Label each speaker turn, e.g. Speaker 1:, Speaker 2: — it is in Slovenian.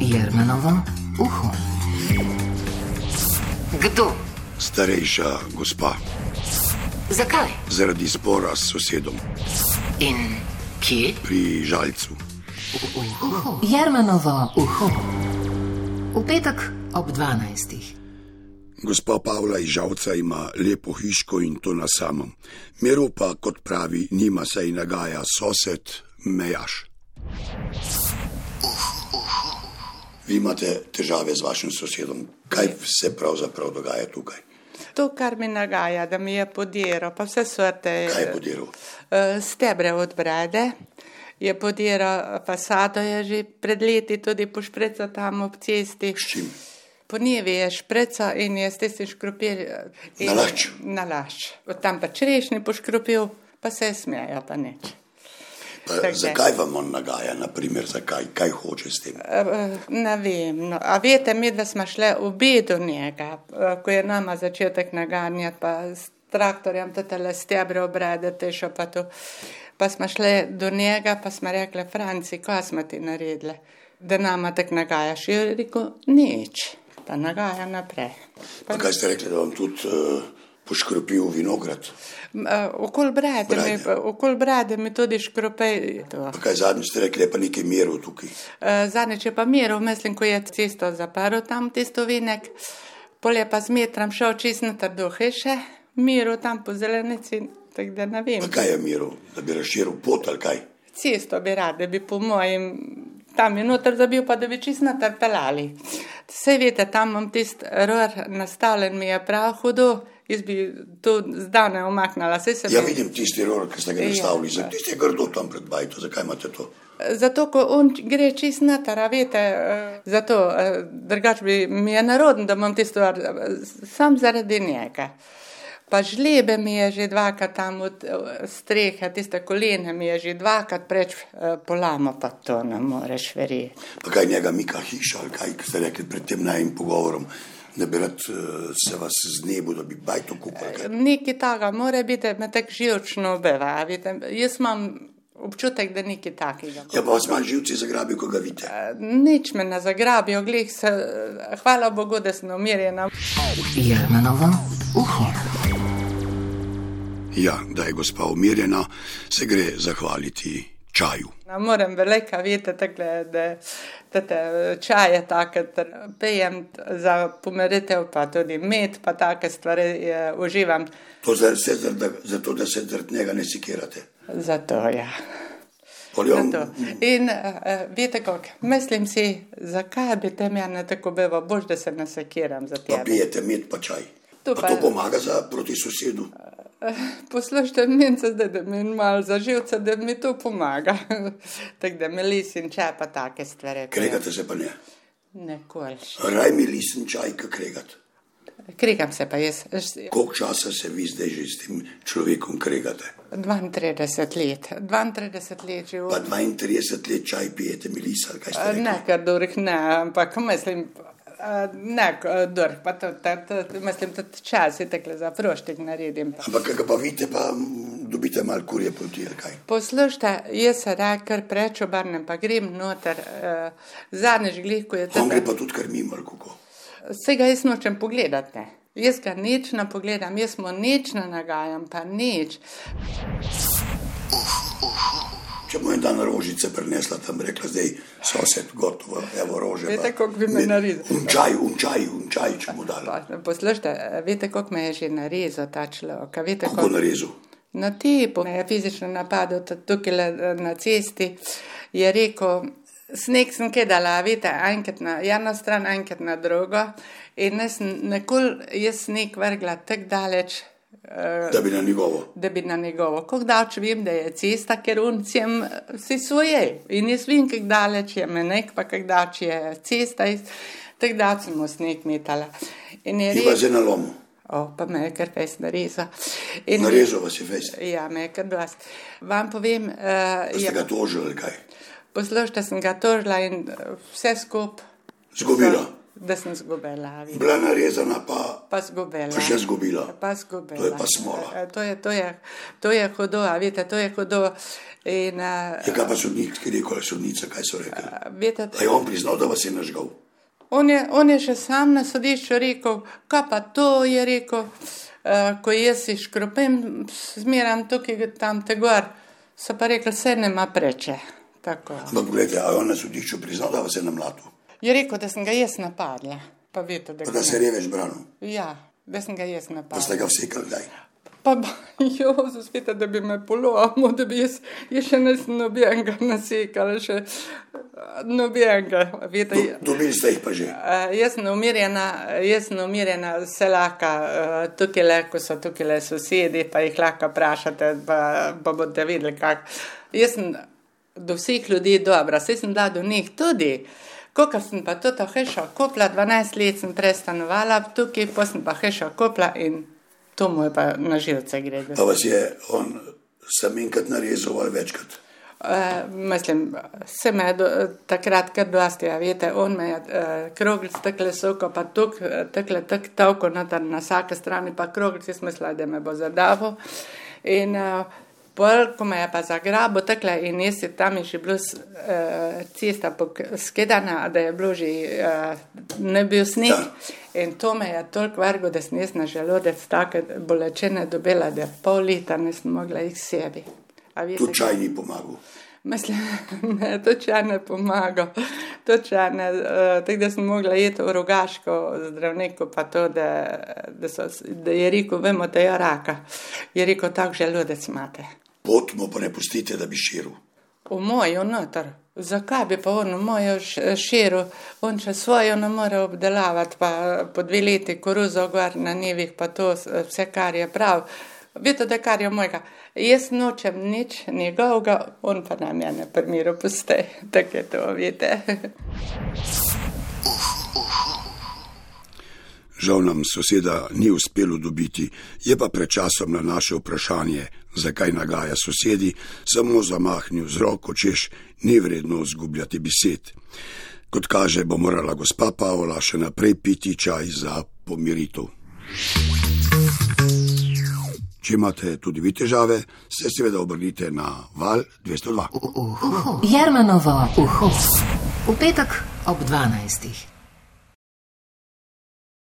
Speaker 1: Jermenovo uho. Kdo?
Speaker 2: Starejša gospa,
Speaker 1: Zakaj?
Speaker 2: zaradi spora s sosedom
Speaker 1: In kje?
Speaker 2: pri Žalcu.
Speaker 1: Jermenovo uho. V petek ob 12.
Speaker 2: Gospa Pavla iz Žalca ima lepo hiško in to na samem. Miru pa, kot pravi, nima saj nagaja sosed, mejaš. Vi imate težave z vašim sosedom. Kaj se pravzaprav dogaja tukaj?
Speaker 3: To, kar mi nagaja, da mi je podiral, pa vse sorte.
Speaker 2: Kaj je podiral?
Speaker 3: Eh, Stebre od brede, je podiral fasado, je že pred leti tudi pošpreca tam ob cesti.
Speaker 2: S čim?
Speaker 3: Po njevi je špreca in je s tistim škropil. eh, in-
Speaker 2: Nalašč.
Speaker 3: Nalašč. Od tam pa črešni poškropil, pa se smejo, pa nič.
Speaker 2: Pa,
Speaker 3: Tako je.
Speaker 2: zakaj vam on nagaja, naprimer, zakaj? Kaj hoče s tem?
Speaker 3: Eh, eh, Ne vem, no. a veste, mi dva smo šli obe do njega, eh, ko je nama začetek naganjati, pa s traktorjem te tele stebre obradete, še pa to. Pa smo šli do njega, pa smo rekli, Franci, kaj smo ti naredili, da nama tako nagajaš. Je rekel, nič, pa nagaja naprej.
Speaker 2: Pa kaj ste rekli, da vam tudi uh, poškropil vinograd?
Speaker 3: M, eh, Okol brade, mi,
Speaker 2: Brade.
Speaker 3: okol brade mi tudi škropej. To.
Speaker 2: Pa kaj zadnjič ste rekli, da je pa nekaj miru tukaj?
Speaker 3: Eh, Zadnjič je pa miril, mislim, ko je cesto zaprl tam tisto vinek, pol je pa z metrom šel čist na trdo hiše, miril tam po zelenici, tako da ne vem.
Speaker 2: Pa kaj je miru, da bi razširil pot ali kaj? Ja,
Speaker 3: Cesto bi rad, da bi po mojem tam je noter zabil, pa da bi čist na trpelali. Vse veste, tam imam tisti ror nastavljen, mi je prav hudo, jaz bi to zdane omaknila. saj se
Speaker 2: Ja,
Speaker 3: bom-
Speaker 2: vidim tisti ror, ki ste ga
Speaker 3: Ja,
Speaker 2: nastavili, za
Speaker 3: ja.
Speaker 2: tiste grdo tam pred bajto, zakaj imate to?
Speaker 3: Zato, ko on gre čist na taravete, zato eh, drugač bi mi je narodno, da imam tisto, eh, sam zaradi njega. Pa žlebe mi je že dvakrat tam od eh, strehe, tiste kolene mi je že dvakrat preč eh, polamo, pa to ne moreš verjeti.
Speaker 2: Pa kaj njega mika hiša ali kaj, ki ste rekli pred tem najim pogovorom, da bi rad eh, se vas z nebu, da bi bajto kupili. kaj?
Speaker 3: Nekaj taga mora biti, da me tako živčno obevavite. Jaz imam občutek, da nekaj takega.
Speaker 2: Ja, pa vas manj živci zagrabijo, ko ga vidite.
Speaker 3: Nič me ne zagrabijo, glih se, eh, hvala Bogu, da sem umirjena.
Speaker 1: Jermenovo uho.
Speaker 2: Ja, da je gospa umirjena, se gre zahvaliti čaju.
Speaker 3: Ne morem velika vete, takle, da, da te čaje take ter pijem t- za pomeritev, pa tudi med, pa take stvari eh, uživam.
Speaker 2: To za- vse zaradi, zato, da se zaradi njega ne sikirate.
Speaker 3: Zato ja.
Speaker 2: Pol je on-
Speaker 3: Zato. In uh, veste, kako mislim si, zakaj bi te mene tako bevo, bož, da se nasekiram za
Speaker 2: Pa
Speaker 3: tebe.
Speaker 2: pijete med pa čaj.
Speaker 3: To
Speaker 2: To, pa
Speaker 3: pa-
Speaker 2: to pomaga za proti sosedu.
Speaker 3: Poslušajte, meni se zdaj, da mi je malo zaživca, da mi to pomaga. tako da mi lisim čaj, pa take stvari.
Speaker 2: Kregate se pa ne.
Speaker 3: Nikoli.
Speaker 2: Raj mi lisen čaj, ki kregat.
Speaker 3: Krigam se pa jaz. Š-
Speaker 2: Koliko časa se vi zdaj že s tem človekom kregate?
Speaker 3: 32 let, 32 let že
Speaker 2: Pa
Speaker 3: v eh,
Speaker 2: 32 let čaj pijete, milis ali kaj ste rekli?
Speaker 3: Ne, ker durh ne, ampak mislim, eh, ne, eh, durh, pa to, to, to, mislim, tudi čas je takle za proštek naredim. pa.
Speaker 2: Ampak kaj pa vidite, pa mm, dobite malo kurje proti ali kaj.
Speaker 3: Poslušajte, jaz se raje kar preč obrnem, pa grem noter, eh, zadnjič glih, ko je
Speaker 2: On gre
Speaker 3: tam.
Speaker 2: pa tudi kar mimo, ali kako.
Speaker 3: Vsega jaz nočem pogledati. ne. Jaz ga nič ne pogledam, jaz mu nič ne nagajam, pa nič.
Speaker 2: Če mu je dan rožice prinesla, tam rekla, zdaj sosed, gotovo, evo rože.
Speaker 3: Veste,
Speaker 2: pa
Speaker 3: koliko bi me
Speaker 2: med- um
Speaker 3: naredil?
Speaker 2: Umčaj, umčaj, umčaj, um če mu dala.
Speaker 3: Pa, Poslušajte, eh, veste, koliko me je že narezal ta človek, a veste,
Speaker 2: Kako
Speaker 3: koliko.
Speaker 2: narezal?
Speaker 3: Na tipu me je fizično napadel t- tukaj le, na cesti. Je rekel, sneg sem kedala, veste, enkrat na eno stran, enkrat na drugo. In jaz sem nikoli jaz sneg vrgla tako daleč. eh,
Speaker 2: Da bi na njegovo.
Speaker 3: Da bi na njegovo, kako daleč vem, da je cesta, ker uncem vsi svoje. In jaz vem, kako daleč je menek, pa kako daleč je cesta, jaz- tako da sem mu sneg metala. In je
Speaker 2: In vas
Speaker 3: rekel,
Speaker 2: je na lomu.
Speaker 3: oh, pa me je kar fejs narezal. In-
Speaker 2: Narezal vas je fejst.
Speaker 3: Ja, me je kar dost. Vam povem, uh,
Speaker 2: Da ste
Speaker 3: ja,
Speaker 2: ga tožili ali kaj.
Speaker 3: poslušajte, sem ga tožila in eh, vse skupaj.
Speaker 2: Zgubila.
Speaker 3: da sem zgubela. a vidite.
Speaker 2: Bila narezana pa,
Speaker 3: Pa zgubela.
Speaker 2: pa še zgubila.
Speaker 3: Ja, Pa zgubila.
Speaker 2: To je pa smola.
Speaker 3: E, To je, to je, to je hudo, a veste, to je hudo. In, eh, a,
Speaker 2: Je Ja, kaj pa sodnik, ki je rekel, ali sodnica, kaj so rekli.
Speaker 3: vete,
Speaker 2: A je on priznal, da vas je nažgal.
Speaker 3: On je, on je še sam na sodišču rekel, kaj pa to je rekel, uh, ko jaz si škropim, zmeram tukaj, tam te gor. So pa rekli, se nema preče. Tako.
Speaker 2: Ampak pogledajte, a je on na sodišču priznal, da vas je namlatil.
Speaker 3: Je rekel, da sem ga jaz napadla. Pa veste, da,
Speaker 2: Pa
Speaker 3: ga
Speaker 2: da se
Speaker 3: ne.
Speaker 2: je revež branil.
Speaker 3: Ja, da sem ga jaz
Speaker 2: Pa ste
Speaker 3: napadla.
Speaker 2: ga vsekali kdaj.
Speaker 3: Pa jo, zaspita, da bi me polomil, da bi jaz, jaz še nisem nobenega nasekala, še eh, nobenega. Vete, je-
Speaker 2: Dobili ste jih pa že.
Speaker 3: Eh, Jaz sem umirjena, jaz sem umirjena, se laka, eh, tukaj le, ko so tukaj le sosedi, pa jih lahko vprašate, pa, pa boste videli, kak. Jaz sem do vseh ljudi dobra, vse sem bila do njih tudi. Ko sem pa to to hišo kopla, 12 let sem prestanovala tukaj, pa sem pa hišo kopla in to mu je pa na živce gre. da
Speaker 2: Pa vas je on sam enkrat narezal ali večkrat.
Speaker 3: Uh, mislim, se me je do, takrat kar dosti, ja, veste, on me je uh, kroglic takle soko, pa tuk, eh, takle tak tavko noter na vsake strani, pa kroglic, jaz mislila, da me bo zadavo. In uh, pol, ko me je pa zagrabo takle in jaz je tam je že bilo s- eh, cesta pok- skedana, da je bilo že, eh, ne bil sneg.
Speaker 2: Ja.
Speaker 3: In to me je toliko vrgo, da sem jaz na želodec take bolečine dobila, da pol leta nisem mogla jih sebi. A veste,
Speaker 2: Tudi čaj ni pomagal.
Speaker 3: Mislim, ne, to če ne pomaga, to če ne. Uh, tako da sem mogla jeti v rogaško zdravniku, pa to, da, da, so, s- da je rekel, vemo, da je raka. Je rekel, tak želodec imate.
Speaker 2: Pot mu pa ne pustite, da bi širil.
Speaker 3: V mojo noter. Zakaj bi pa on v mojo š- širu, on še svojo ne more obdelavati, pa po dve leti koruzo gor na nevih, pa to s- vse, kar je prav. Veste, da kar je mojega. Jaz nočem nič njegovega, on pa nam je na primeru puste. Tako je to, veste.
Speaker 2: Žal nam soseda ni uspelo dobiti, je pa pred časom na naše vprašanje, zakaj nagaja sosedi, samo zamahnil z roko, češ ni vredno zgubljati besed. Kot kaže, bo morala gospa Pavla še naprej piti čaj za pomiritev. Če imate tudi vi težave, se seveda obrnite na val 202.
Speaker 1: Jermanovo uho. V petek ob 12.